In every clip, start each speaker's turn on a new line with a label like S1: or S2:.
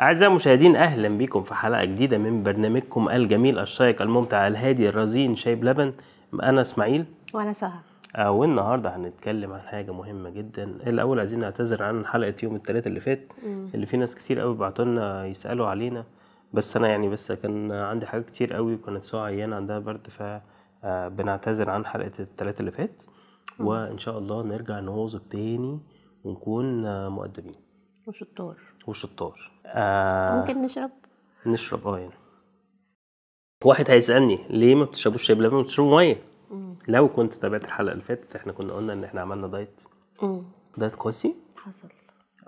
S1: أعزائي المشاهدين أهلا بكم في حلقة جديدة من برنامجكم الجميل الشيق الممتع الهادي الرزين شاي بلبن أنا إسماعيل
S2: وانا سهى
S1: آه، والنهاردة هنتكلم عن حاجة مهمة جدا الأول عايزين نعتذر عن حلقة يوم التلاتة اللي فات اللي في ناس كتير قوي بعتولنا يسألوا علينا بس أنا يعني بس كان عندي حاجات كتير قوي وكانت سوا عيانة عندها برد ف آه، بنعتذر عن حلقة التلاتة اللي فات وإن شاء الله نرجع نواظب تاني ونكون آه، مؤدبين
S2: وشطار
S1: وشطار آه،
S2: ممكن نشرب
S1: نشرب اه يعني واحد هيسألني ليه ما بتشربوش شاي بلبن بتشربوا مية
S2: مم.
S1: لو كنت تابعت الحلقة اللي فاتت احنا كنا قلنا ان احنا عملنا دايت
S2: مم.
S1: دايت قاسي
S2: حصل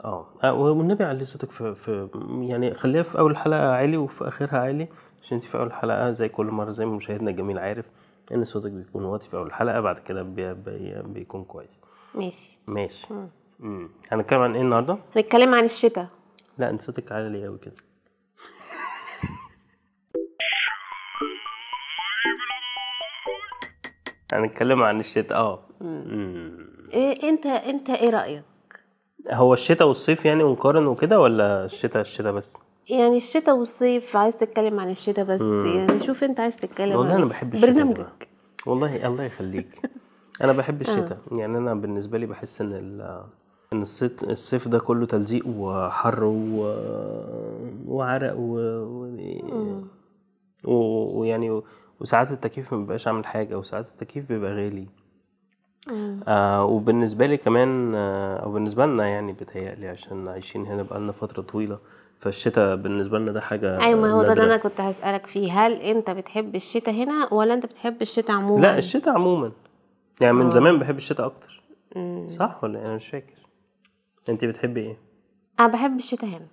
S1: اه آه، والنبي عليه صوتك في, في يعني خليها في اول الحلقة عالي وفي اخرها عالي عشان انت في اول الحلقة زي كل مرة زي ما مشاهدنا الجميل عارف ان صوتك بيكون واطي في اول الحلقة بعد كده بي بي بيكون كويس
S2: ماشي
S1: ماشي
S2: مم.
S1: امم هنتكلم عن ايه النهارده؟
S2: هنتكلم عن الشتاء
S1: لا انت صوتك عالي قوي كده هنتكلم عن الشتاء اه مم.
S2: إيه انت انت ايه رايك
S1: هو الشتاء والصيف يعني ونقارن وكده ولا الشتاء الشتاء بس
S2: يعني الشتاء والصيف عايز تتكلم عن الشتاء بس يعني شوف انت عايز تتكلم
S1: والله
S2: عن
S1: انا
S2: إيه.
S1: بحب الشتاء يا جماعة.
S2: برنامجك
S1: والله الله يخليك انا بحب الشتاء
S2: آه.
S1: يعني انا بالنسبه لي بحس ان ال- ان الصيف الصيف ده كله تلزيق وحر و... وعرق و...
S2: آه.
S1: و... و... ويعني و... وساعات التكييف ما بيبقاش عامل حاجه وساعات التكييف بيبقى غالي آه وبالنسبه لي كمان آه او بالنسبه لنا يعني بتهيألي عشان عايشين هنا بقالنا فتره طويله فالشتاء بالنسبه لنا ده حاجه
S2: ايوه ما هو ده اللي
S1: نادرة.
S2: انا كنت هسالك فيه هل انت بتحب الشتاء هنا ولا انت بتحب الشتاء عموما
S1: لا الشتاء عموما يعني
S2: آه.
S1: من زمان بحب الشتاء اكتر
S2: مم.
S1: صح ولا إيه؟ انا مش فاكر انت بتحبي ايه
S2: انا بحب الشتاء هنا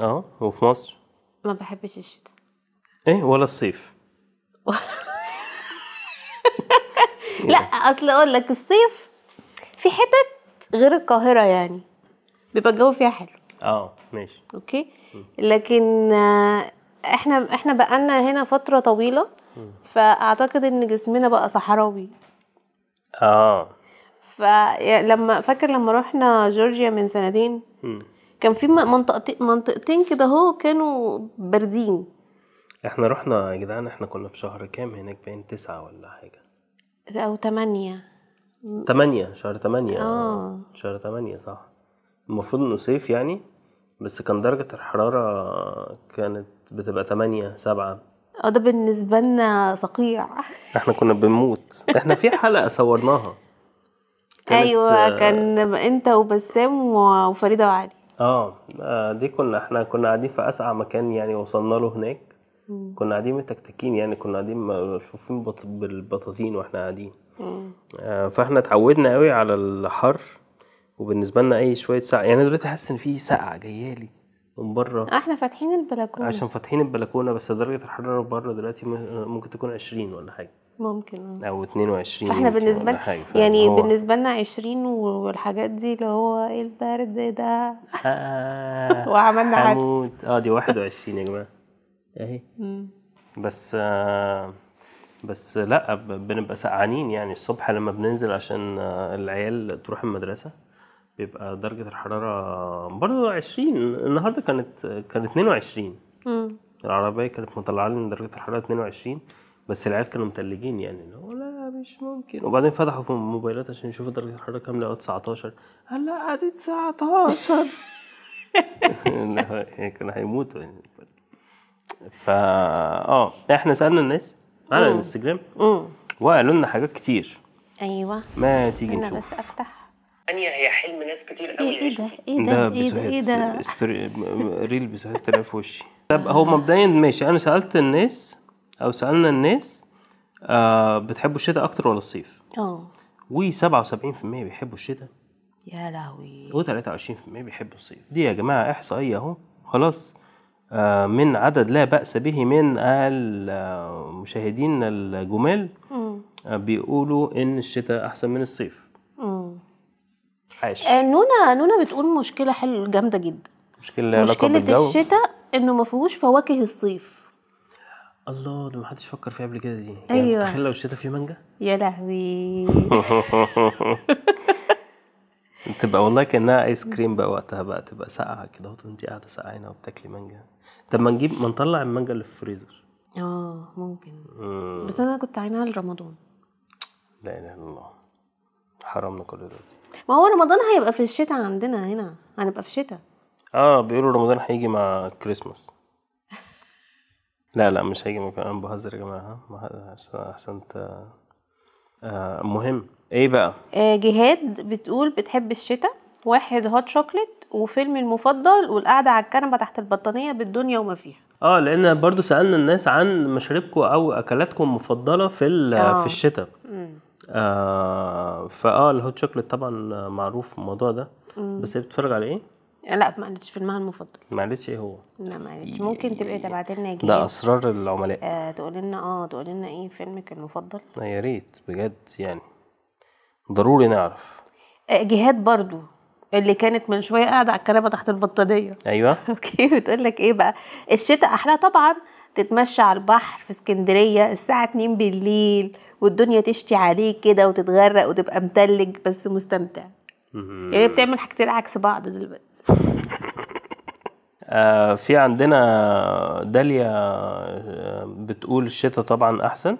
S1: اه وفي مصر
S2: ما بحبش الشتاء
S1: ايه ولا الصيف
S2: لا اصل اقول لك الصيف في حتت غير القاهره يعني بيبقى الجو فيها حلو
S1: اه ماشي
S2: اوكي لكن آه، احنا احنا بقالنا هنا فتره طويله فاعتقد ان جسمنا بقى صحراوي
S1: اه
S2: فلما فاكر لما رحنا جورجيا من سنتين
S1: مم.
S2: كان في م- منطقتين منطقتين كده اهو كانوا باردين
S1: احنا رحنا يا جدعان احنا كنا في شهر كام هناك باين تسعة ولا حاجة
S2: او تمانية
S1: تمانية شهر تمانية
S2: آه.
S1: شهر تمانية صح المفروض انه صيف يعني بس كان درجة الحرارة كانت بتبقى تمانية سبعة
S2: اه ده بالنسبه لنا صقيع
S1: احنا كنا بنموت احنا في حلقة صورناها كانت- آه،
S2: ايوه كان انت وبسام و- وفريده وعلي
S1: اه آه، دي كنا احنا كنا قاعدين في اسقع مكان يعني وصلنا له هناك كنا قاعدين متكتكين يعني كنا قاعدين ملفوفين بط- بالبطاطين واحنا قاعدين آه، فاحنا اتعودنا قوي على الحر وبالنسبه لنا اي شويه سقعه يعني أنا دلوقتي حاسس ان في سقعه جايه لي من بره
S2: احنا أه، فاتحين البلكونه
S1: عشان فاتحين البلكونه بس درجه الحراره بره دلوقتي م- ممكن تكون 20 ولا حاجه
S2: ممكن آه.
S1: او 22
S2: فاحنا
S1: يمكن
S2: بالنسبه
S1: ولا حاجة.
S2: يعني
S1: فهو-
S2: بالنسبه لنا 20 والحاجات دي اللي هو ايه البرد ده
S1: آه،
S2: وعملنا عدس.
S1: حمود. اه دي 21 يا إيه؟ جماعه اهي
S2: مم.
S1: بس آه، بس لا ب- بنبقى سقعانين يعني الصبح لما بننزل عشان آه، العيال تروح المدرسة بيبقى درجة الحرارة برضه 20 النهاردة كانت كانت 22
S2: مم.
S1: العربية كانت مطلعة لنا درجة الحرارة 22 بس العيال كانوا متلجين يعني اللي هو لا مش ممكن وبعدين فتحوا في الموبايلات عشان يشوفوا درجة الحرارة كام لقوا 19 قال لا قعدت 19 لا، يعني كانوا هيموتوا يعني فا اه احنا سألنا الناس على الانستجرام
S2: مم.
S1: وقالوا لنا حاجات كتير
S2: ايوه
S1: ما تيجي
S2: انا
S1: نشوف
S2: بس افتح
S3: تانية هي حلم ناس كتير قوي
S2: ايه ايه
S3: يعيشوا
S2: ده
S3: فيه
S1: إيه
S2: ايه ده ايه
S1: بسهاد
S2: ده ايه ده
S1: ستوري ريل بسهاد طلع في وشي طب هو مبدئيا ماشي انا سالت الناس او سالنا الناس آه بتحبوا الشتاء اكتر ولا الصيف
S2: اه
S1: و77% بيحبوا الشتاء
S2: يا لهوي
S1: و23% بيحبوا الصيف دي يا جماعه احصائيه اهو خلاص آه من عدد لا باس به من المشاهدين الجمال
S2: مم.
S1: آه بيقولوا ان الشتاء احسن من الصيف
S2: مم.
S1: عاش
S2: آه، نونا نونا بتقول مشكله حلوه جامده جدا
S1: مشكله لها علاقه
S2: مشكله
S1: بالجو
S2: الشتاء انه ما فيهوش فواكه الصيف
S1: الله ده محدش فكر فيها قبل كده دي
S2: أيوة.
S1: يعني تخيل لو الشتاء فيه مانجا
S2: يا لهوي
S1: تبقى والله كانها ايس كريم بقى وقتها بقى تبقى ساقعه كده وانت قاعده سقعانه وبتاكلي مانجا طب ما نجيب ما نطلع المانجا اللي في الفريزر
S2: اه ممكن
S1: مم.
S2: بس انا كنت عينها لرمضان
S1: لا اله الا الله حرمنا كل ده دي.
S2: ما هو رمضان هيبقى في الشتاء عندنا هنا هنبقى في شتاء
S1: اه بيقولوا رمضان هيجي مع كريسماس لا لا مش هيجي مع انا بهزر يا جماعه ها؟ ما ه- عشان عشان ت- آه مهم ايه بقى
S2: آه، جهاد بتقول بتحب الشتاء واحد هوت شوكليت وفيلمي المفضل والقعده على الكنبه تحت البطانيه بالدنيا وما فيها
S1: اه لان برضو سالنا الناس عن مشاربكم او اكلاتكم المفضله في ال-
S2: آه.
S1: في الشتاء
S2: مم.
S1: آه فاه الهوت شوكليت طبعا معروف الموضوع ده بس هي بتتفرج على ايه
S2: آه، لا ما قلتش فيلمها المفضل
S1: معلش ايه هو
S2: لا ما قلتش ممكن تبقي تبعت لنا يا
S1: ده
S2: جهاد
S1: اسرار العملاء
S2: آه تقول لنا اه تقول لنا ايه فيلمك المفضل
S1: آه، يا ريت بجد يعني ضروري نعرف
S2: آه جهاد برضو اللي كانت من شويه قاعده على الكنبه تحت البطانيه
S1: ايوه
S2: اوكي بتقول لك ايه بقى الشتاء احلى طبعا تتمشى على البحر في اسكندريه الساعه 2 بالليل والدنيا تشتي عليك كده وتتغرق وتبقى متلج بس مستمتع
S1: مم.
S2: يعني بتعمل حاجتين عكس بعض دلوقتي
S1: آه في عندنا داليا آه، بتقول الشتاء طبعا احسن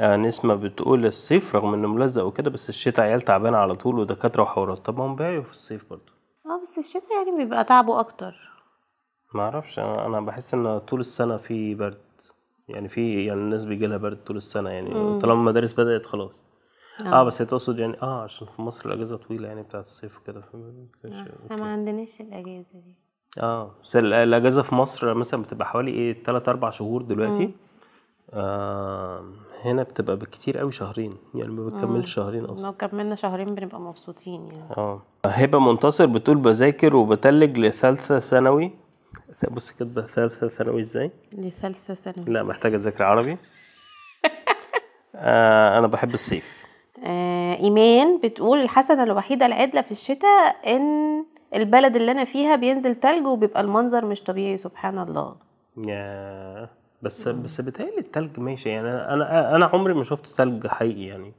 S1: آه نسمة بتقول الصيف رغم انه ملزق وكده بس الشتاء عيال تعبانة على طول ودكاترة وحوارات طب ما هم بيعيوا في الصيف برضه
S2: اه بس الشتاء يعني بيبقى تعبه اكتر
S1: ما اعرفش انا أنا بحس ان طول السنة في برد يعني في يعني الناس بيجي لها برد طول السنة يعني طالما المدارس بدأت خلاص اه, آه بس هي تقصد يعني اه عشان في مصر الاجازة طويلة يعني بتاعت الصيف وكده فما كانش-
S2: احنا ما عندناش الاجازه دي
S1: اه بس ال- الاجازه في مصر مثلا بتبقى حوالي ايه 3 4 شهور دلوقتي آه هنا بتبقى بالكتير قوي شهرين يعني ما بتكملش شهرين اصلا
S2: لو كملنا شهرين بنبقى مبسوطين يعني
S1: اه هبه منتصر بتقول بذاكر وبتلج لثالثه ثانوي بص كاتبه ثالثه ثانوي ازاي
S2: لثالثه ثانوي
S1: لا محتاجه اذاكر عربي آه انا بحب الصيف
S2: آه ايمان بتقول الحسنه الوحيده العدله في الشتاء ان البلد اللي انا فيها بينزل تلج وبيبقى المنظر مش طبيعي سبحان الله
S1: يا بس بس بتهيألي التلج ماشي يعني أنا- انا انا عمري ما شفت تلج حقيقي يعني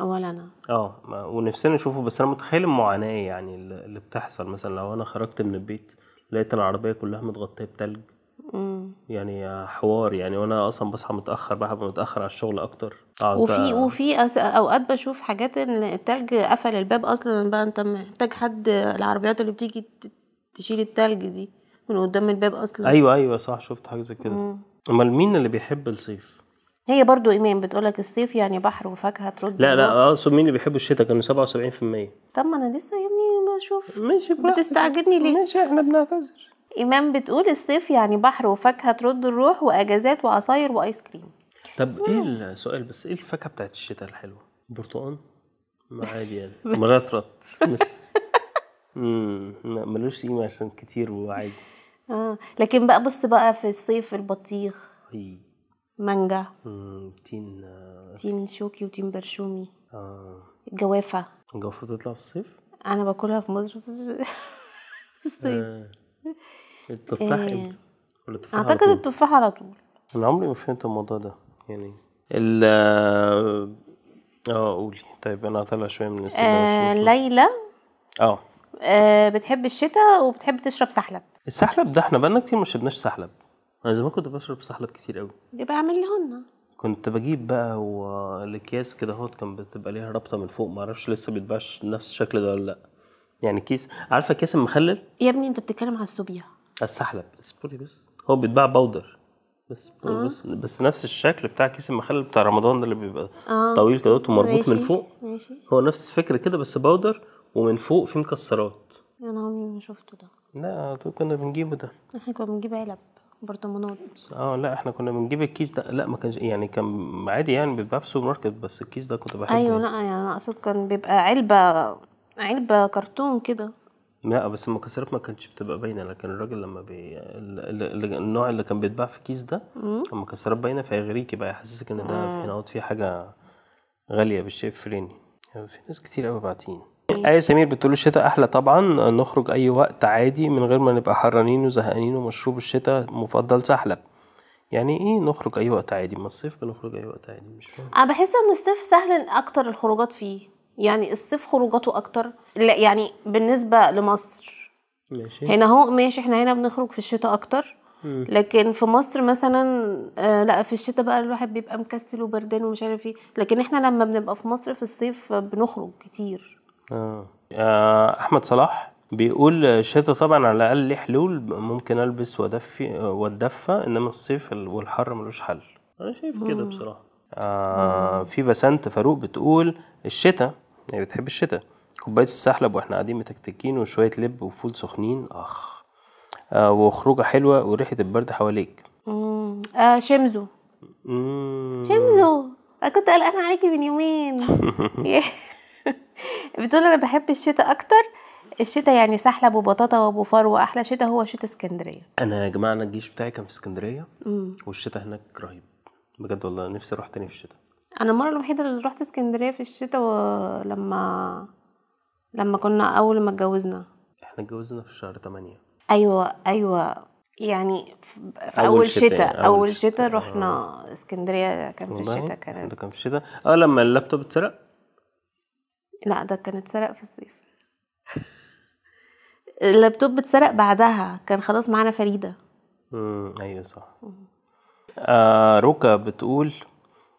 S2: ولا انا
S1: اه ما- ونفسنا نشوفه بس انا متخيل المعاناه يعني الل- اللي بتحصل مثلا لو انا خرجت من البيت لقيت العربيه كلها متغطيه بتلج
S2: مم.
S1: يعني حوار يعني وانا اصلا بصحى متاخر بحب متاخر على الشغل آه، اكتر اقعد
S2: وفي
S1: بقى-
S2: وفي أس- اوقات بشوف حاجات ان التلج قفل الباب اصلا بقى انت محتاج حد العربيات اللي بتيجي ت- تشيل التلج دي من قدام الباب اصلا
S1: ايوه ايوه صح شفت حاجه زي كده
S2: مم.
S1: امال مين اللي بيحب الصيف
S2: هي برضو ايمان بتقولك الصيف يعني بحر وفاكهه ترد
S1: لا
S2: الروح.
S1: لا اقصد مين اللي بيحب الشتاء كانوا 77%
S2: طب ما انا لسه يا ابني بشوف
S1: ماشي براحتك.
S2: بتستعجلني ليه؟
S1: ماشي احنا بنعتذر
S2: ايمان بتقول الصيف يعني بحر وفاكهه ترد الروح واجازات وعصاير وايس كريم
S1: طب ايه السؤال بس ايه الفاكهه بتاعت الشتاء الحلوه؟ برتقال؟ ما عادي يعني مرطرط مش امم ما- ملوش قيمه عشان كتير وعادي
S2: آه. لكن بقى بص بقى في الصيف البطيخ
S1: أي.
S2: مانجا
S1: أمم، تين آه،
S2: تين شوكي وتين برشومي
S1: آه،
S2: الجوافه
S1: الجوافه تطلع في الصيف؟
S2: انا باكلها في مصر في الص- في الصيف
S1: آه. التفاح
S2: إيه.
S1: امتى؟ ولا التفاح على
S2: اعتقد
S1: طول؟ آه،
S2: التفاح على طول
S1: انا عمري ما فهمت الموضوع ده يعني ال اه آه، قولي طيب انا هطلع شويه من
S2: آه
S1: السيجاره
S2: ليلى
S1: اه
S2: آه بتحب الشتاء وبتحب تشرب سحلب
S1: السحلب ده احنا بقالنا كتير ما شربناش سحلب انا زمان كنت بشرب سحلب كتير قوي
S2: يبقى اعمل لهن
S1: كنت بجيب بقى والاكياس كده اهوت كان بتبقى ليها رابطه من فوق ما اعرفش لسه بيتباعش نفس الشكل ده ولا لا يعني كيس عارفه كيس المخلل
S2: يا ابني انت بتتكلم على السوبيا
S1: السحلب اصبري بس هو بيتباع بودر بس
S2: آه.
S1: بس, بس نفس الشكل بتاع كيس المخلل بتاع رمضان ده اللي بيبقى
S2: آه.
S1: طويل كده وهوت ومربوط
S2: ماشي.
S1: من فوق
S2: ماشي
S1: هو نفس الفكره كده بس بودر ومن فوق فيه مكسرات
S2: انا عمري ما شفته ده
S1: لا على طول كنا بنجيبه ده
S2: احنا كنا بنجيب علب برطمانات
S1: اه لا احنا كنا بنجيب الكيس ده لا ما كانش يعني كان عادي يعني بيتباع في السوبر ماركت بس الكيس ده كنت بحبه
S2: ايوه لا يعني انا اقصد كان بيبقى علبه علبه كرتون كده
S1: لا بس المكسرات ما كانتش بتبقى باينه لكن الراجل لما بي... ال- ال- ال- النوع اللي كان بيتباع في كيس ده المكسرات باينه فيغريكي بقى يحسسك ان ده هنا في حاجه غاليه بالشيء فريني يعني في ناس كتير قوي باعتين آية سمير بتقول الشتاء أحلى طبعا نخرج أي وقت عادي من غير ما نبقى حرانين وزهقانين ومشروب الشتاء مفضل سحلب يعني إيه نخرج أي وقت عادي ما الصيف بنخرج أي وقت عادي مش فاهم
S2: انا بحس ان الصيف سهل اكتر الخروجات فيه يعني الصيف خروجاته اكتر لا يعني بالنسبه لمصر
S1: ماشي
S2: هنا هو ماشي احنا هنا بنخرج في الشتاء اكتر
S1: مم.
S2: لكن في مصر مثلا آه لا في الشتاء بقى الواحد بيبقى مكسل وبردان ومش عارف ايه لكن احنا لما بنبقى في مصر في الصيف بنخرج كتير
S1: آه. آه، احمد صلاح بيقول الشتا طبعا على الاقل ليه حلول ممكن البس وادفي آه، واتدفى انما الصيف ال- والحر ملوش حل انا شايف كده بصراحه آه في بسنت فاروق بتقول الشتا هي بتحب الشتا كوبايه السحلب واحنا قاعدين متكتكين وشويه لب وفول سخنين اخ آه وخروجه حلوه وريحه البرد حواليك
S2: مم. آه شمزو
S1: مم.
S2: شمزو انا كنت قلقانه عليكي من يومين بتقول انا بحب الشتاء اكتر الشتاء يعني سحلب وبطاطا وابو فروه احلى شتاء هو شتاء اسكندريه
S1: انا يا جماعه انا الجيش بتاعي كان في اسكندريه
S2: مم.
S1: والشتا هناك رهيب بجد والله نفسي اروح تاني في الشتا
S2: انا المره الوحيده اللي رحت اسكندريه في الشتاء و- لما لما كنا اول ما اتجوزنا
S1: احنا اتجوزنا في شهر 8
S2: ايوه ايوه يعني في في
S1: أول
S2: اول
S1: شتاء
S2: شتاء
S1: يعني، أول
S2: اول
S1: شتاء،
S2: شتاء رحنا اسكندريه كان في
S1: والله
S2: الشتاء كانت
S1: ده كان في الشتاء اه لما اللابتوب اتسرق
S2: لا ده كان اتسرق في الصيف اللابتوب اتسرق بعدها كان خلاص معانا فريده
S1: امم ايوه صح آه روكا بتقول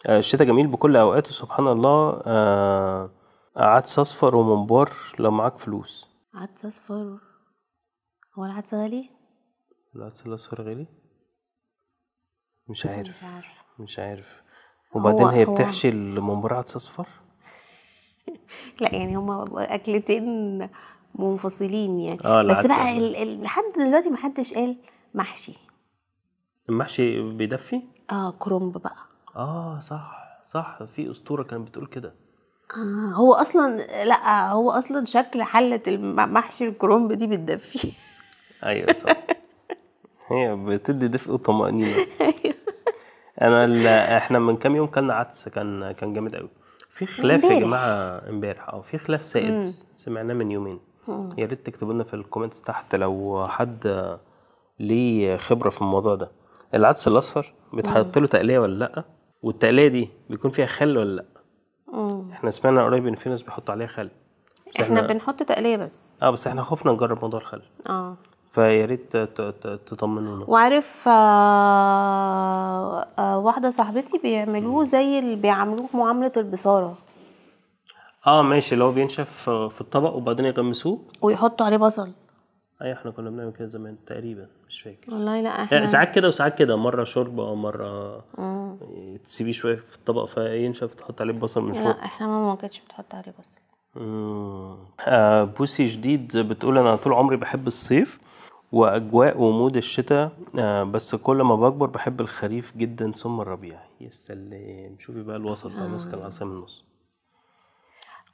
S1: آه الشتاء جميل بكل اوقاته سبحان الله آه عدس اصفر وممبار لو معاك فلوس
S2: عدس اصفر هو العدس غالي
S1: العدس الاصفر غالي مش
S2: مش
S1: عارف
S2: عارفه
S1: مش عارف وبعدين هي
S2: هو-
S1: بتحشي الممبار عدس اصفر
S2: لا يعني هما اكلتين منفصلين يعني
S1: آه،
S2: بس
S1: العدس
S2: بقى
S1: أغلى.
S2: ال- ال- لحد دلوقتي ما حدش قال محشي
S1: المحشي بيدفي
S2: اه كرنب بقى
S1: اه صح صح في اسطوره كانت بتقول كده
S2: آه هو اصلا لا هو اصلا شكل حله الم- محشي الكرنب دي بتدفي
S1: ايوه صح هي بتدي دفء وطمأنينة انا ال- احنا من كام يوم كلنا عدس كان كان جامد قوي في خلاف يا
S2: امبارح.
S1: جماعه امبارح اه في خلاف سائد سمعناه من يومين يا ريت تكتبوا لنا في الكومنتس تحت لو حد ليه خبره في الموضوع ده العدس الاصفر بيتحط له تقليه ولا لا والتقليه دي بيكون فيها خل ولا لا
S2: مم.
S1: احنا سمعنا قريب ان في ناس بيحطوا عليها خل بس
S2: احنا بنحط تقليه بس
S1: اه بس احنا خفنا نجرب موضوع الخل
S2: اه
S1: فيا ريت ت- ت- تطمنونا
S2: وعارف آه آه واحده صاحبتي بيعملوه زي اللي بيعاملوه معامله البصاره
S1: اه ماشي اللي هو بينشف في الطبق وبعدين يغمسوه
S2: ويحطوا عليه بصل
S1: ايوه احنا كنا بنعمل كده زمان تقريبا مش فاكر
S2: والله لا
S1: يعني
S2: احنا
S1: ساعات كده وساعات كده مره شوربه ومره
S2: مم.
S1: تسيبيه شويه في الطبق فينشف تحط عليه بصل من فوق
S2: لا احنا ماما ما كانتش بتحط عليه بصل
S1: مم. آه بوسي جديد بتقول انا طول عمري بحب الصيف واجواء ومود الشتاء آه بس كل ما بكبر بحب الخريف جدا ثم الربيع يا سلام شوفي بقى الوسط بقى ماسكه العصا من النص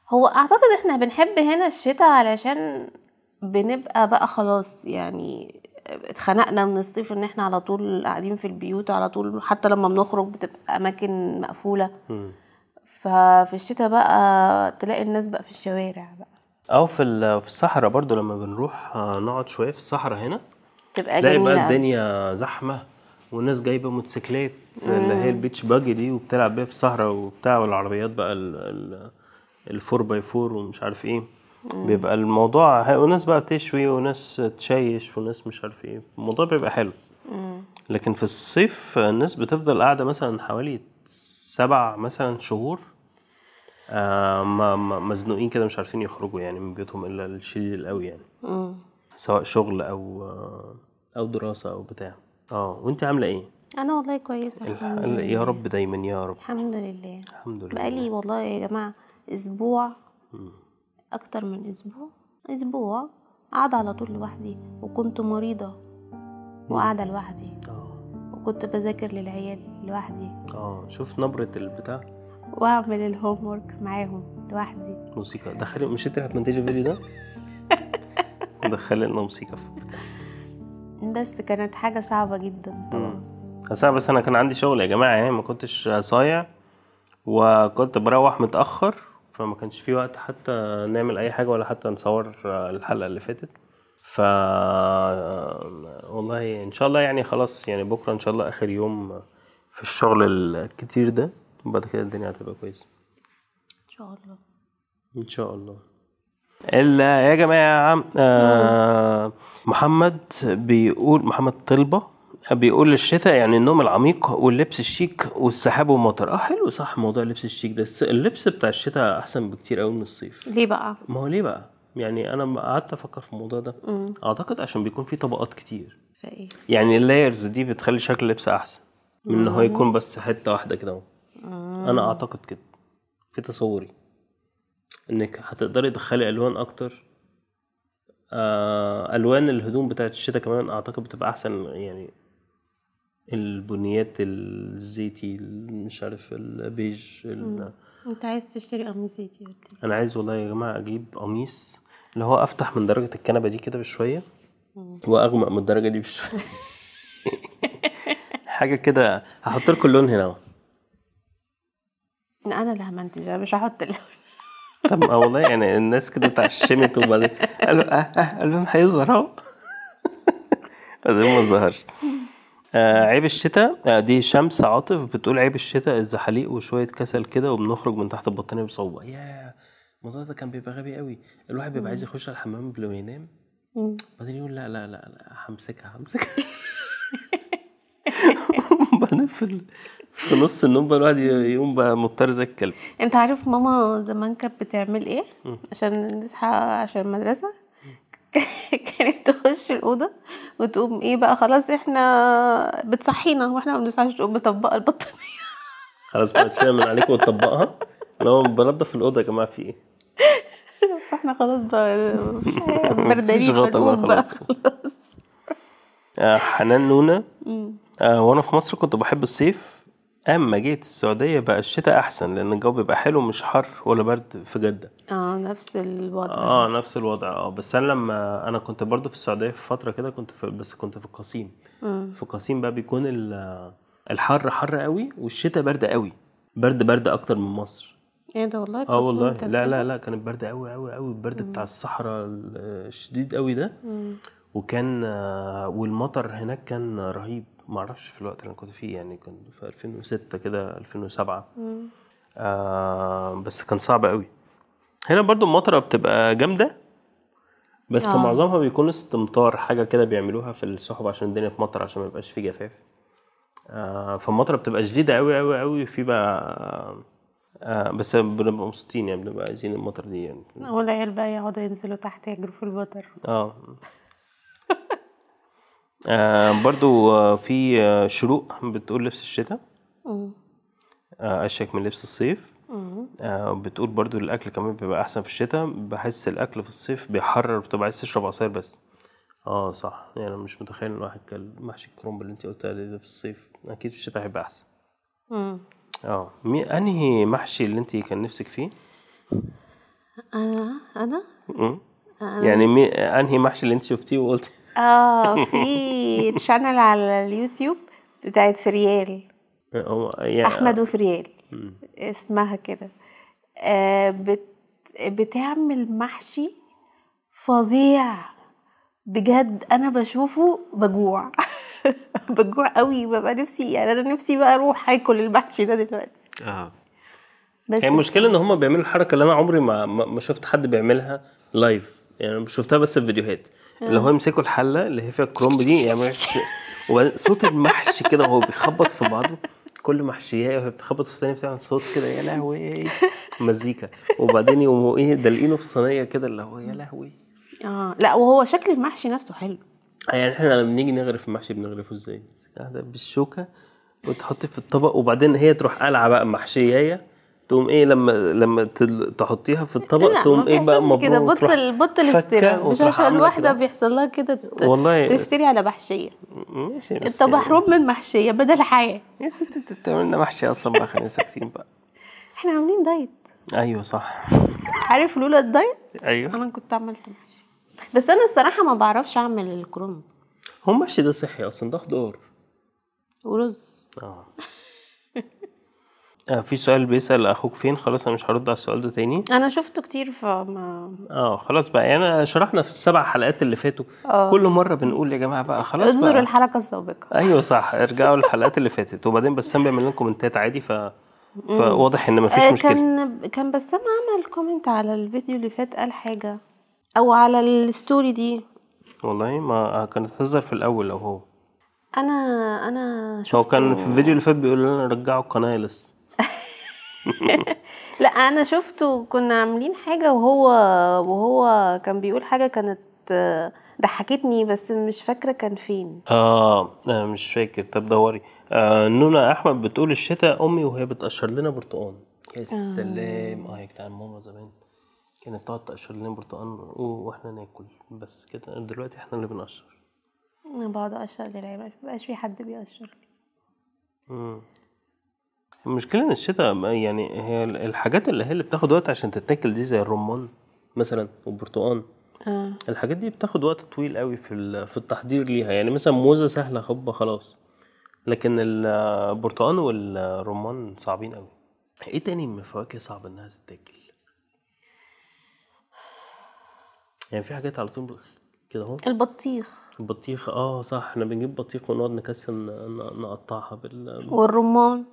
S2: هو اعتقد احنا بنحب هنا الشتاء علشان بنبقى بقى خلاص يعني اتخنقنا من الصيف ان احنا على طول قاعدين في البيوت على طول حتى لما بنخرج بتبقى اماكن مقفوله
S1: مم.
S2: ففي الشتاء بقى تلاقي الناس بقى في الشوارع بقى
S1: او في ال- في الصحراء برضو لما بنروح آه، نقعد شويه في الصحراء هنا تلاقي
S2: تبقى
S1: بقى
S2: جميله أوي.
S1: الدنيا زحمه والناس جايبه موتوسيكلات اللي هي البيتش باجي دي وبتلعب بيها في الصحراء وبتاع والعربيات بقى ال ال الفور باي فور ومش عارف ايه بيبقى الموضوع ه- وناس بقى تشوي وناس تشيش وناس مش عارف ايه الموضوع بيبقى حلو لكن في الصيف الناس بتفضل قاعده مثلا حوالي سبع مثلا شهور آه ما- ما- مزنوقين كده مش عارفين يخرجوا يعني من بيوتهم الا الشديد القوي يعني
S2: مم.
S1: سواء شغل او او دراسه او بتاع اه وانت عامله ايه
S2: انا والله كويسه الحمد
S1: ال-
S2: لله.
S1: يا رب دايما يا رب
S2: الحمد لله
S1: الحمد لله
S2: بقالي والله يا جماعه اسبوع اكتر من اسبوع اسبوع قاعده على طول لوحدي وكنت مريضه وقاعده لوحدي
S1: اه
S2: وكنت بذاكر للعيال لوحدي
S1: اه شوف نبره البتاع
S2: واعمل الهوم ورك معاهم لوحدي
S1: موسيقى دخلي مش انت اللي هتمنتجي الفيديو ده دخلي لنا موسيقى في البتاع
S2: بس كانت حاجه صعبه جدا طبعا
S1: بس انا بس انا كان عندي شغل يا جماعه يعني ما كنتش صايع وكنت بروح متاخر فما كانش في وقت حتى نعمل اي حاجه ولا حتى نصور الحلقه اللي فاتت ف والله ان شاء الله يعني خلاص يعني بكره ان شاء الله اخر يوم في الشغل الكتير ده وبعد كده الدنيا هتبقى كويسه
S2: ان شاء الله
S1: ان شاء الله الا يا جماعه آه محمد بيقول محمد طلبه بيقول الشتاء يعني النوم العميق واللبس الشيك والسحاب والمطر اه حلو صح موضوع اللبس الشيك ده الس- اللبس بتاع الشتاء احسن بكتير قوي من الصيف
S2: ليه بقى؟
S1: ما هو ليه بقى يعني انا قعدت افكر في الموضوع ده
S2: امم
S1: اعتقد عشان بيكون في طبقات كتير
S2: فايه؟
S1: يعني اللايرز دي بتخلي شكل اللبس احسن من ان هو يكون بس حته واحده كده اهو انا اعتقد كده في تصوري انك هتقدري تدخلي الوان اكتر آه، الوان الهدوم بتاعت الشتاء كمان اعتقد بتبقى احسن يعني البنيات الزيتي مش عارف البيج ال...
S2: انت عايز تشتري قميص ايه دي؟
S1: انا عايز والله يا جماعه اجيب قميص اللي هو افتح من درجه الكنبه دي كده بشويه واغمق من الدرجه دي بشويه حاجه كده هحط لكم اللون هنا اهو
S2: انا اللي همنتج انا مش هحط اللون
S1: طب ما والله يعني الناس كده اتعشمت وبعدين قالوا اه اه اللون هيظهر اهو بعدين ما ظهرش آه عيب الشتاء آه دي شمس عاطف بتقول عيب الشتاء الزحاليق وشويه كسل كده وبنخرج من تحت البطانيه بصعوبه ياه الموضوع ده كان بيبقى غبي قوي الواحد بيبقى عايز يخش على الحمام قبل ما ينام
S2: مم.
S1: بعدين يقول لا لا لا لا همسكها همسكها بعدين في ال- في نص النوم بقى الواحد ي- يقوم بقى مضطر زي الكلب
S2: انت عارف ماما زمان كانت بتعمل ايه
S1: مم.
S2: عشان نصحى عشان المدرسه كانت تخش الاوضه وتقوم ايه بقى خلاص احنا بتصحينا واحنا ما بنصحاش تقوم مطبقه البطانيه
S1: خلاص بقى تشيلها من عليك وتطبقها لو بنضف الاوضه يا جماعه في ايه؟
S2: فاحنا خلاص بقى مفيش حاجة،
S1: مفيش
S2: بردانين
S1: غطا بقى
S2: بنقوم بقى
S1: خلاص آه، حنان نونه
S2: مم.
S1: آه، وانا في مصر كنت بحب الصيف اما جيت السعوديه بقى الشتاء احسن لان الجو بيبقى حلو مش حر ولا برد في جده
S2: اه نفس الوضع
S1: اه نفس الوضع اه بس انا لما انا كنت برضو في السعوديه في فتره كده كنت في بس كنت في القصيم
S2: مم.
S1: في القصيم بقى بيكون ال- الحر حر قوي والشتاء برد قوي برد برد اكتر من مصر
S2: ايه ده والله
S1: اه
S2: التصوير
S1: والله
S2: كانت
S1: لا
S2: كده؟
S1: لا لا كانت برد قوي قوي قوي البرد بتاع الصحراء ال- الشديد قوي ده
S2: مم.
S1: وكان آه، والمطر هناك كان رهيب معرفش في الوقت اللي انا كنت فيه يعني كنت في 2006 كده 2007
S2: مم.
S1: آه بس كان صعب قوي هنا برضو المطره بتبقى جامده بس
S2: آه.
S1: آه. معظمها بيكون استمطار حاجه كده بيعملوها في السحب عشان الدنيا في مطر عشان ما يبقاش في جفاف آه فالمطره بتبقى شديده قوي قوي قوي وفي بقى آه بس بنبقى مبسوطين يعني بنبقى عايزين المطر دي يعني
S2: والعيال بقى يقعدوا ينزلوا تحت يجروا في البطر
S1: اه آه، برضو آه، في آه، شروق بتقول لبس الشتاء
S2: مم.
S1: آه، اشيك من لبس الصيف
S2: مم.
S1: آه، بتقول برضو الاكل كمان بيبقى احسن في الشتاء بحس الاكل في الصيف بيحرر بتبقى عايز تشرب عصير بس اه صح يعني أنا مش متخيل ان الواحد كان محشي الكرنب اللي انت قلتها لي ده في الصيف اكيد في الشتاء هيبقى احسن
S2: مم.
S1: اه مي- انهي محشي اللي انت كان نفسك فيه
S2: انا انا
S1: م-
S2: أنا-
S1: يعني مي... انهي محشي اللي انت شفتيه وقلت
S2: اه في تشانل على اليوتيوب بتاعت فريال
S1: هو- يعني
S2: احمد وفريال
S1: مم.
S2: اسمها كده آه بت بتعمل محشي فظيع بجد انا بشوفه بجوع بجوع قوي ببقى نفسي يعني انا نفسي بقى اروح اكل المحشي ده دلوقتي
S1: اه
S2: بس
S1: هي المشكله ان هم بيعملوا الحركه اللي انا عمري ما ما ما شفت حد بيعملها لايف يعني أنا شفتها بس في فيديوهات اللي هو يمسكوا الحله اللي هي فيها الكرومب دي يعني يعملوا وبعدين صوت المحشي كده وهو بيخبط في بعضه كل محشيه وهي بتخبط في الثانيه بتعمل صوت كده يا لهوي مزيكا وبعدين يقوموا ايه دلقينه في صينيه كده اللي هو يا لهوي
S2: اه لا وهو شكل المحشي نفسه حلو
S1: يعني احنا لما بنيجي نغرف المحشي بنغرفه ازاي؟ قاعده بالشوكه وتحطي في الطبق وبعدين هي تروح قلعه بقى محشيه تقوم ايه لما لما تل- تحطيها في الطبق
S2: لا،
S1: تقوم
S2: ما
S1: ايه بقى
S2: بيحصلش كده
S1: مبروك وتروح
S2: بطل بطل
S1: فكة
S2: افتراء مش
S1: وتروح
S2: عشان
S1: عاملة
S2: واحده
S1: كده.
S2: بيحصل لها كده ت-
S1: والله-
S2: تفتري على محشيه
S1: ماشي بس
S2: انت محروم من محشيه بدل حياه
S1: يا ست انت بتعمل لنا محشي اصلا بقى خلينا ساكتين بقى
S2: احنا عاملين دايت
S1: ايوه صح
S2: عارف لولا الدايت
S1: ايوه
S2: انا كنت عملت محشي بس انا الصراحه ما بعرفش اعمل الكرنب
S1: هو المحشي ده صحي اصلا ده خضار
S2: ورز
S1: اه آه، في سؤال بيسأل أخوك فين خلاص أنا مش هرد على السؤال ده تاني
S2: انا شفته كتير فما
S1: اه خلاص بقى يعني أنا شرحنا في السبع حلقات اللي فاتوا
S2: آه.
S1: كل مرة بنقول يا جماعة بقى خلاص بقى أيوة
S2: انظروا الحلقه السابقه
S1: ايوه صح ارجعوا للحلقات اللي فاتت وبعدين بسام بيعمل لنا كومنتات عادي ف فواضح ان مفيش
S2: آه،
S1: مشكله
S2: كان كان بسام عمل كومنت على الفيديو اللي فات قال حاجه او على الستوري دي
S1: والله ما كانت تهزر في الاول او هو
S2: انا انا
S1: هو
S2: شفت
S1: كان في الفيديو اللي فات بيقول لنا رجعوا القنايلس
S2: لا انا شفته كنا عاملين حاجه وهو وهو كان بيقول حاجه كانت آه، ضحكتني بس مش فاكره كان فين
S1: آه آه، مش فاكر طب دوري آه نونا احمد بتقول الشتاء امي وهي بتقشر لنا برتقان يا سلام اه يا جدعان ماما زمان كانت تقعد تقشر لنا برتقان واحنا ناكل بس كده دلوقتي احنا اللي بنقشر
S2: انا بقعد اشر للعيب ما بقاش في حد بيقشر
S1: مم. المشكلة ان الشتاء ما- يعني هي ال- الحاجات اللي هي اللي بتاخد وقت عشان تتاكل دي زي الرمان مثلا والبرتقان
S2: اه
S1: الحاجات دي بتاخد وقت طويل قوي في ال- في التحضير ليها يعني مثلا موزة سهلة هوبا خلاص لكن البرتقان والرمان صعبين قوي ايه تاني من الفواكه صعب انها تتاكل يعني في حاجات على طول كده اهو
S2: البطيخ
S1: البطيخ اه صح احنا بنجيب بطيخ ونقعد نكسر ن- ن- نقطعها بال
S2: والرمان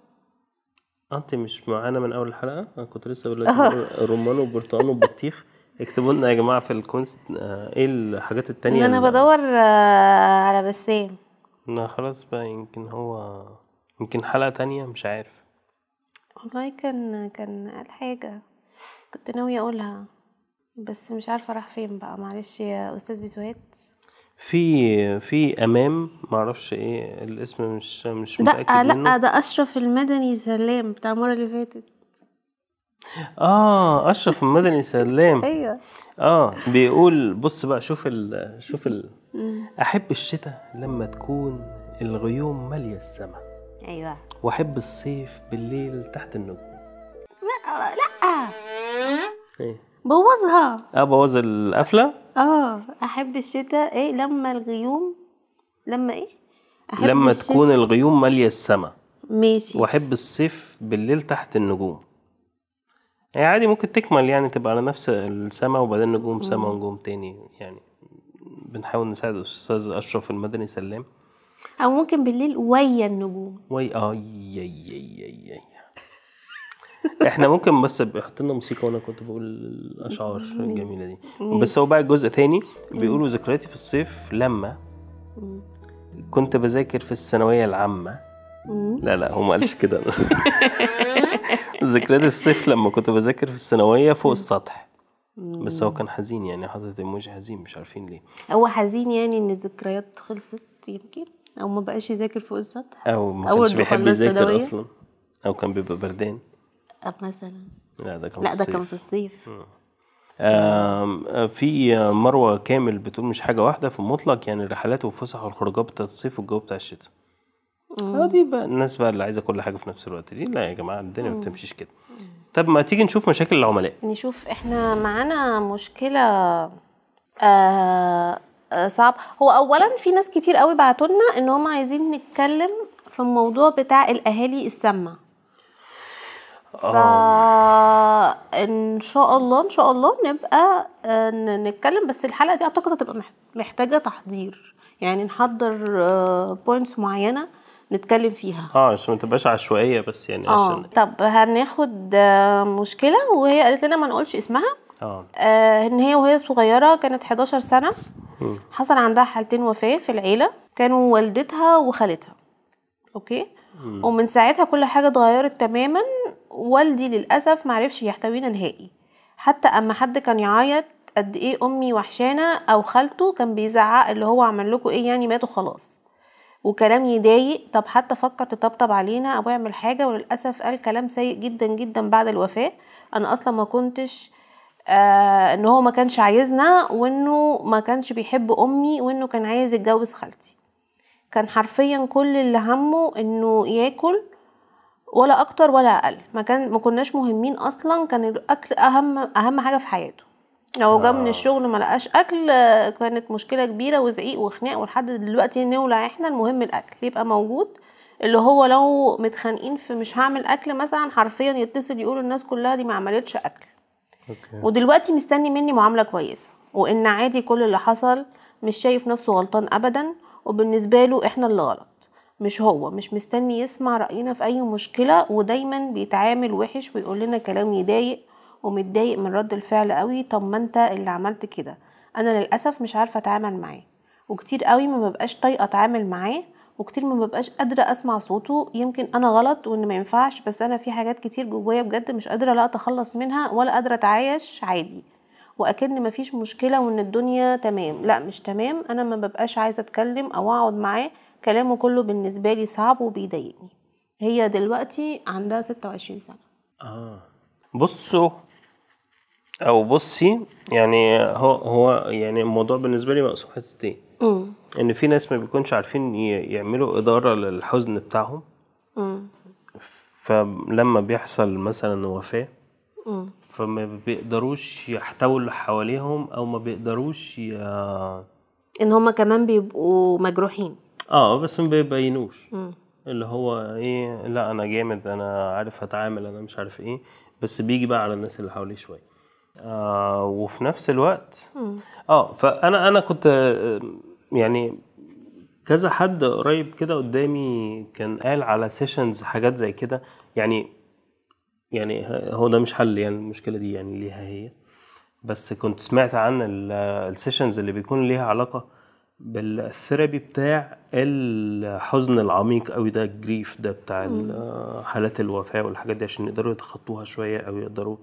S1: انت مش معانا من اول الحلقه انا كنت لسه بقول لكم رمان وبرتقال وبطيخ اكتبوا لنا يا جماعه في الكونست آه، ايه الحاجات
S2: ان
S1: التانية
S2: انا
S1: اللي-
S2: بدور آه، على بسام
S1: لا خلاص بقى يمكن هو يمكن حلقه تانية مش عارف
S2: والله كان كان قال حاجه كنت ناويه اقولها بس مش عارفه راح فين بقى معلش يا استاذ بسوات
S1: في في امام معرفش ايه الاسم مش مش متاكد
S2: لا آه.
S1: منه
S2: لا ده اشرف المدني سلام بتاع المره اللي فاتت
S1: اه اشرف المدني سلام
S2: ايوه
S1: اه بيقول بص بقى شوف ال شوف ال احب الشتاء لما تكون الغيوم ماليه السما
S2: ايوه
S1: أيوة. واحب الصيف بالليل تحت النجوم
S2: لا لا
S1: ايه
S2: بوظها
S1: ابوظ القفله
S2: اه احب الشتاء ايه لما الغيوم لما ايه أحب
S1: لما
S2: الشتا-
S1: تكون الغيوم ماليه السما
S2: ماشي
S1: واحب الصيف بالليل تحت النجوم هي عادي ممكن تكمل يعني تبقى على نفس السما وبعدين نجوم سما ونجوم تاني يعني بنحاول نساعد الاستاذ اشرف المدني سلام
S2: او ممكن بالليل ويا النجوم
S1: واي اي اي اي اي اي احنا ممكن بس بيحط لنا موسيقى وانا كنت بقول الاشعار الجميله دي بس هو بقى جزء تاني بيقولوا ذكرياتي في الصيف لما
S2: مم.
S1: كنت بذاكر في الثانويه العامه
S2: مم.
S1: لا لا هو ما قالش كده ذكرياتي في الصيف لما كنت بذاكر في الثانويه فوق السطح بس هو كان حزين يعني حاطط ايموجي حزين مش عارفين ليه
S2: هو حزين يعني ان الذكريات خلصت يمكن او ما بقاش يذاكر فوق السطح
S1: او ما
S2: أول
S1: كانش
S2: ما
S1: بيحب
S2: خلصت
S1: يذاكر
S2: ثانوية.
S1: اصلا او كان بيبقى بردان
S2: أه مثلا
S1: لا ده كان
S2: لا
S1: في
S2: ده كان
S1: الصيف
S2: في الصيف
S1: آم، آه، في مروه كامل بتقول مش حاجه واحده في المطلق يعني الرحلات والفسح والخروجات بتاعت الصيف والجو بتاع الشتاء اه دي بقى الناس بقى اللي عايزه كل حاجه في نفس الوقت دي لا يا جماعه الدنيا ما بتمشيش كده طب ما تيجي نشوف مشاكل العملاء
S2: نشوف احنا معانا مشكلة آه آه، صعب هو اولا في ناس كتير قوي بعتولنا ان هم عايزين نتكلم في الموضوع بتاع الاهالي السامة فان شاء الله ان شاء الله نبقى آه، ن- نتكلم بس الحلقه دي اعتقد هتبقى مح- محتاجه تحضير يعني نحضر بوينتس معينه نتكلم فيها
S1: اه عشان ما تبقاش عشوائيه بس يعني
S2: اه
S1: عشان
S2: طب هناخد آه، مشكله وهي قالت لنا ما نقولش اسمها
S1: اه
S2: آه، ان هي وهي صغيره كانت 11 سنه حصل عندها حالتين وفاه في العيله كانوا والدتها وخالتها اوكي ومن ساعتها كل حاجه اتغيرت تماما والدي للاسف معرفش يحتوينا نهائي حتى اما حد كان يعيط قد ايه امي وحشانه او خالته كان بيزعق اللي هو عمل لكم ايه يعني ماتوا خلاص وكلام يضايق طب حتى فكر تطبطب علينا او يعمل حاجه وللاسف قال كلام سيء جدا جدا بعد الوفاه انا اصلا ما كنتش آه ان هو ما كانش عايزنا وانه ما كانش بيحب امي وانه كان عايز يتجوز خالتي كان حرفيا كل اللي همه انه ياكل ولا اكتر ولا اقل ما كان ما كناش مهمين اصلا كان الاكل اهم اهم حاجه في حياته لو جه من
S1: آه.
S2: الشغل ما لقاش اكل آه، كانت مشكله كبيره وزعيق وخناق ولحد دلوقتي نولع احنا المهم الاكل يبقى موجود اللي هو لو متخانقين في مش هعمل اكل مثلا حرفيا يتصل يقول الناس كلها دي ما عملتش اكل
S1: اوكي
S2: ودلوقتي مستني مني معامله كويسه وان عادي كل اللي حصل مش شايف نفسه غلطان ابدا وبالنسبه له احنا اللي غلط مش هو مش مستني يسمع رأينا في أي مشكلة ودايما بيتعامل وحش ويقول لنا كلام يضايق ومتضايق من رد الفعل قوي طب ما انت اللي عملت كده انا للاسف مش عارفه اتعامل معاه وكتير قوي ما ببقاش طايقه اتعامل معاه وكتير ما ببقاش قادره اسمع صوته يمكن انا غلط وان ما ينفعش بس انا في حاجات كتير جوايا بجد مش قادره لا اتخلص منها ولا قادره اتعايش عادي واكن مفيش مشكله وان الدنيا تمام لا مش تمام انا ما ببقاش عايزه اتكلم او اقعد معاه كلامه كله بالنسبه لي صعب وبيضايقني هي دلوقتي عندها 26 سنه
S1: اه بصوا او بصي يعني هو هو يعني الموضوع بالنسبه لي مقسوم حتتين
S2: امم
S1: ان في ناس ما بيكونش عارفين ي- يعملوا اداره للحزن بتاعهم
S2: امم
S1: فلما بيحصل مثلا وفاه
S2: امم
S1: فما بيقدروش يحتووا اللي حواليهم او ما بيقدروش ي...
S2: ان هما كمان بيبقوا مجروحين
S1: اه بس ما بيبينوش
S2: مم.
S1: اللي هو ايه لا انا جامد انا عارف اتعامل انا مش عارف ايه بس بيجي بقى على الناس اللي حواليه شويه آه وفي نفس الوقت اه فانا انا كنت آه، يعني كذا حد قريب كده قدامي كان قال على سيشنز حاجات زي كده يعني يعني ه- هو ده مش حل يعني المشكله دي يعني ليها هي بس كنت سمعت عن السيشنز اللي بيكون ليها علاقه بالثيرابي بتاع الحزن العميق قوي ده الجريف ده بتاع ال- آه، حالات الوفاه والحاجات دي عشان يقدروا يتخطوها شويه او يقدروا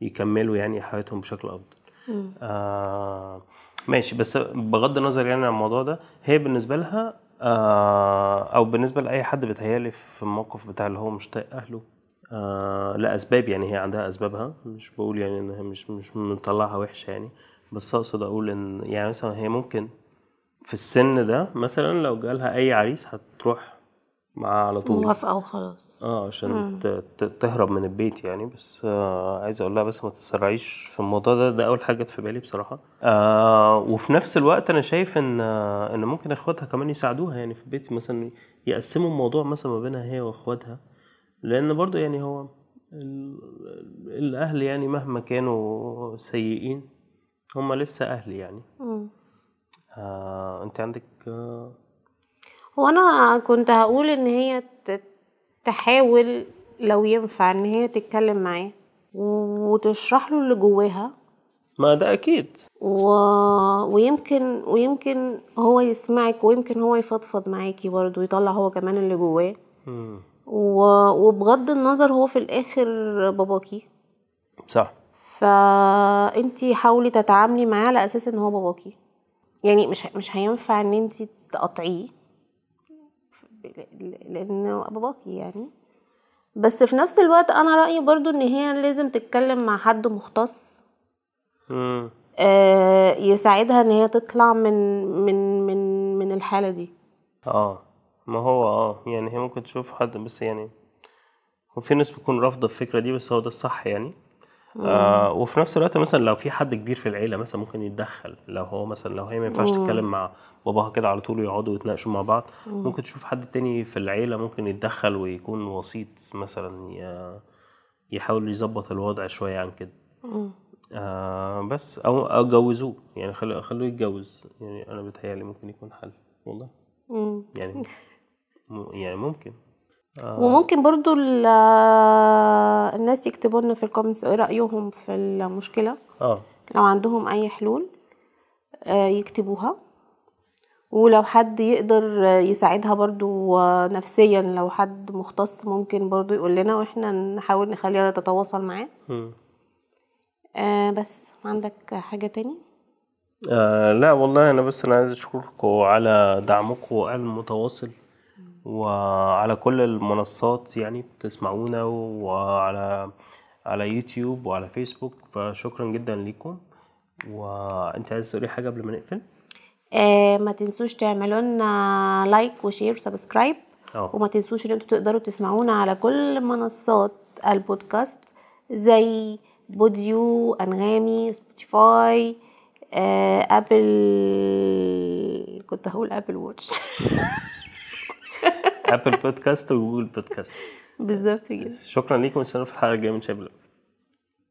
S1: يكملوا يعني حياتهم بشكل افضل آه ماشي بس بغض النظر يعني عن الموضوع ده هي بالنسبه لها آه او بالنسبه لاي حد بيتهيألي في الموقف بتاع اللي هو مش طايق اهله آه لاسباب يعني هي عندها اسبابها مش بقول يعني انها مش مش مطلعها وحشه يعني بس اقصد اقول ان يعني مثلا هي ممكن في السن ده مثلا لو جالها اي عريس هتروح معاه على طول
S2: موافقه وخلاص
S1: اه عشان ت- ت- تهرب من البيت يعني بس آه عايز اقول لها بس ما تتسرعيش في الموضوع ده ده اول حاجه جت في بالي بصراحه آه وفي نفس الوقت انا شايف ان آه ان ممكن اخواتها كمان يساعدوها يعني في البيت مثلا يقسموا الموضوع مثلا ما بينها هي واخواتها لان برضو يعني هو ال- ال- الاهل يعني مهما كانوا سيئين هم لسه اهل يعني
S2: مم.
S1: آه انت عندك آه
S2: هو انا كنت هقول ان هي ت- تحاول لو ينفع ان هي تتكلم معاه وتشرح له اللي جواها
S1: ما ده اكيد
S2: و... ويمكن ويمكن هو يسمعك ويمكن هو يفضفض معاكي برضه ويطلع هو كمان اللي جواه
S1: مم.
S2: و... وبغض النظر هو في الاخر باباكي
S1: صح
S2: فانتي حاولي تتعاملي معاه على اساس ان هو باباكي يعني مش مش هينفع ان انتي تقاطعيه ل- لان باباكي يعني بس في نفس الوقت انا رايي برضو ان هي لازم تتكلم مع حد مختص
S1: مم.
S2: آه، يساعدها ان هي تطلع من من من من الحاله دي
S1: اه ما هو اه يعني هي ممكن تشوف حد بس يعني وفي ناس بتكون رافضه الفكره دي بس هو ده الصح يعني آه وفي نفس الوقت مثلا لو في حد كبير في العيله مثلا ممكن يتدخل لو هو مثلا لو هي ما ينفعش تتكلم مع باباها كده على طول ويقعدوا يتناقشوا مع بعض ممكن تشوف حد تاني في العيله ممكن يتدخل ويكون وسيط مثلا ي- يحاول يظبط الوضع شويه عن كده
S2: مم.
S1: آه بس او او جوزوه يعني خلوه خلوه يتجوز يعني انا بتهيألي ممكن يكون حل والله
S2: مم.
S1: يعني م- يعني ممكن
S2: وممكن برضو ال- الناس يكتبوا لنا في الكومنتس رايهم في المشكله
S1: اه
S2: لو عندهم اي حلول آه، يكتبوها ولو حد يقدر آه، يساعدها برضو آه، نفسيا لو حد مختص ممكن برضو يقول لنا واحنا نحاول نخليها تتواصل معاه
S1: مم.
S2: آه، بس عندك حاجة تاني
S1: آه لا والله انا بس انا عايز اشكركم على دعمكم المتواصل وعلى كل المنصات يعني بتسمعونا وعلى على يوتيوب وعلى فيسبوك فشكرا جدا ليكم وانت عايز تقولي حاجه قبل ما نقفل
S2: آه، ما تنسوش تعملوا لنا لايك وشير وسبسكرايب
S1: اه
S2: وما تنسوش ان انتوا تقدروا تسمعونا على كل منصات البودكاست زي بوديو انغامي سبوتيفاي آه، ابل كنت هقول ابل واتش
S1: ابل بودكاست وجوجل بودكاست
S2: بالظبط كده
S1: شكرا ليكم استنوا في الحلقه الجايه من شباب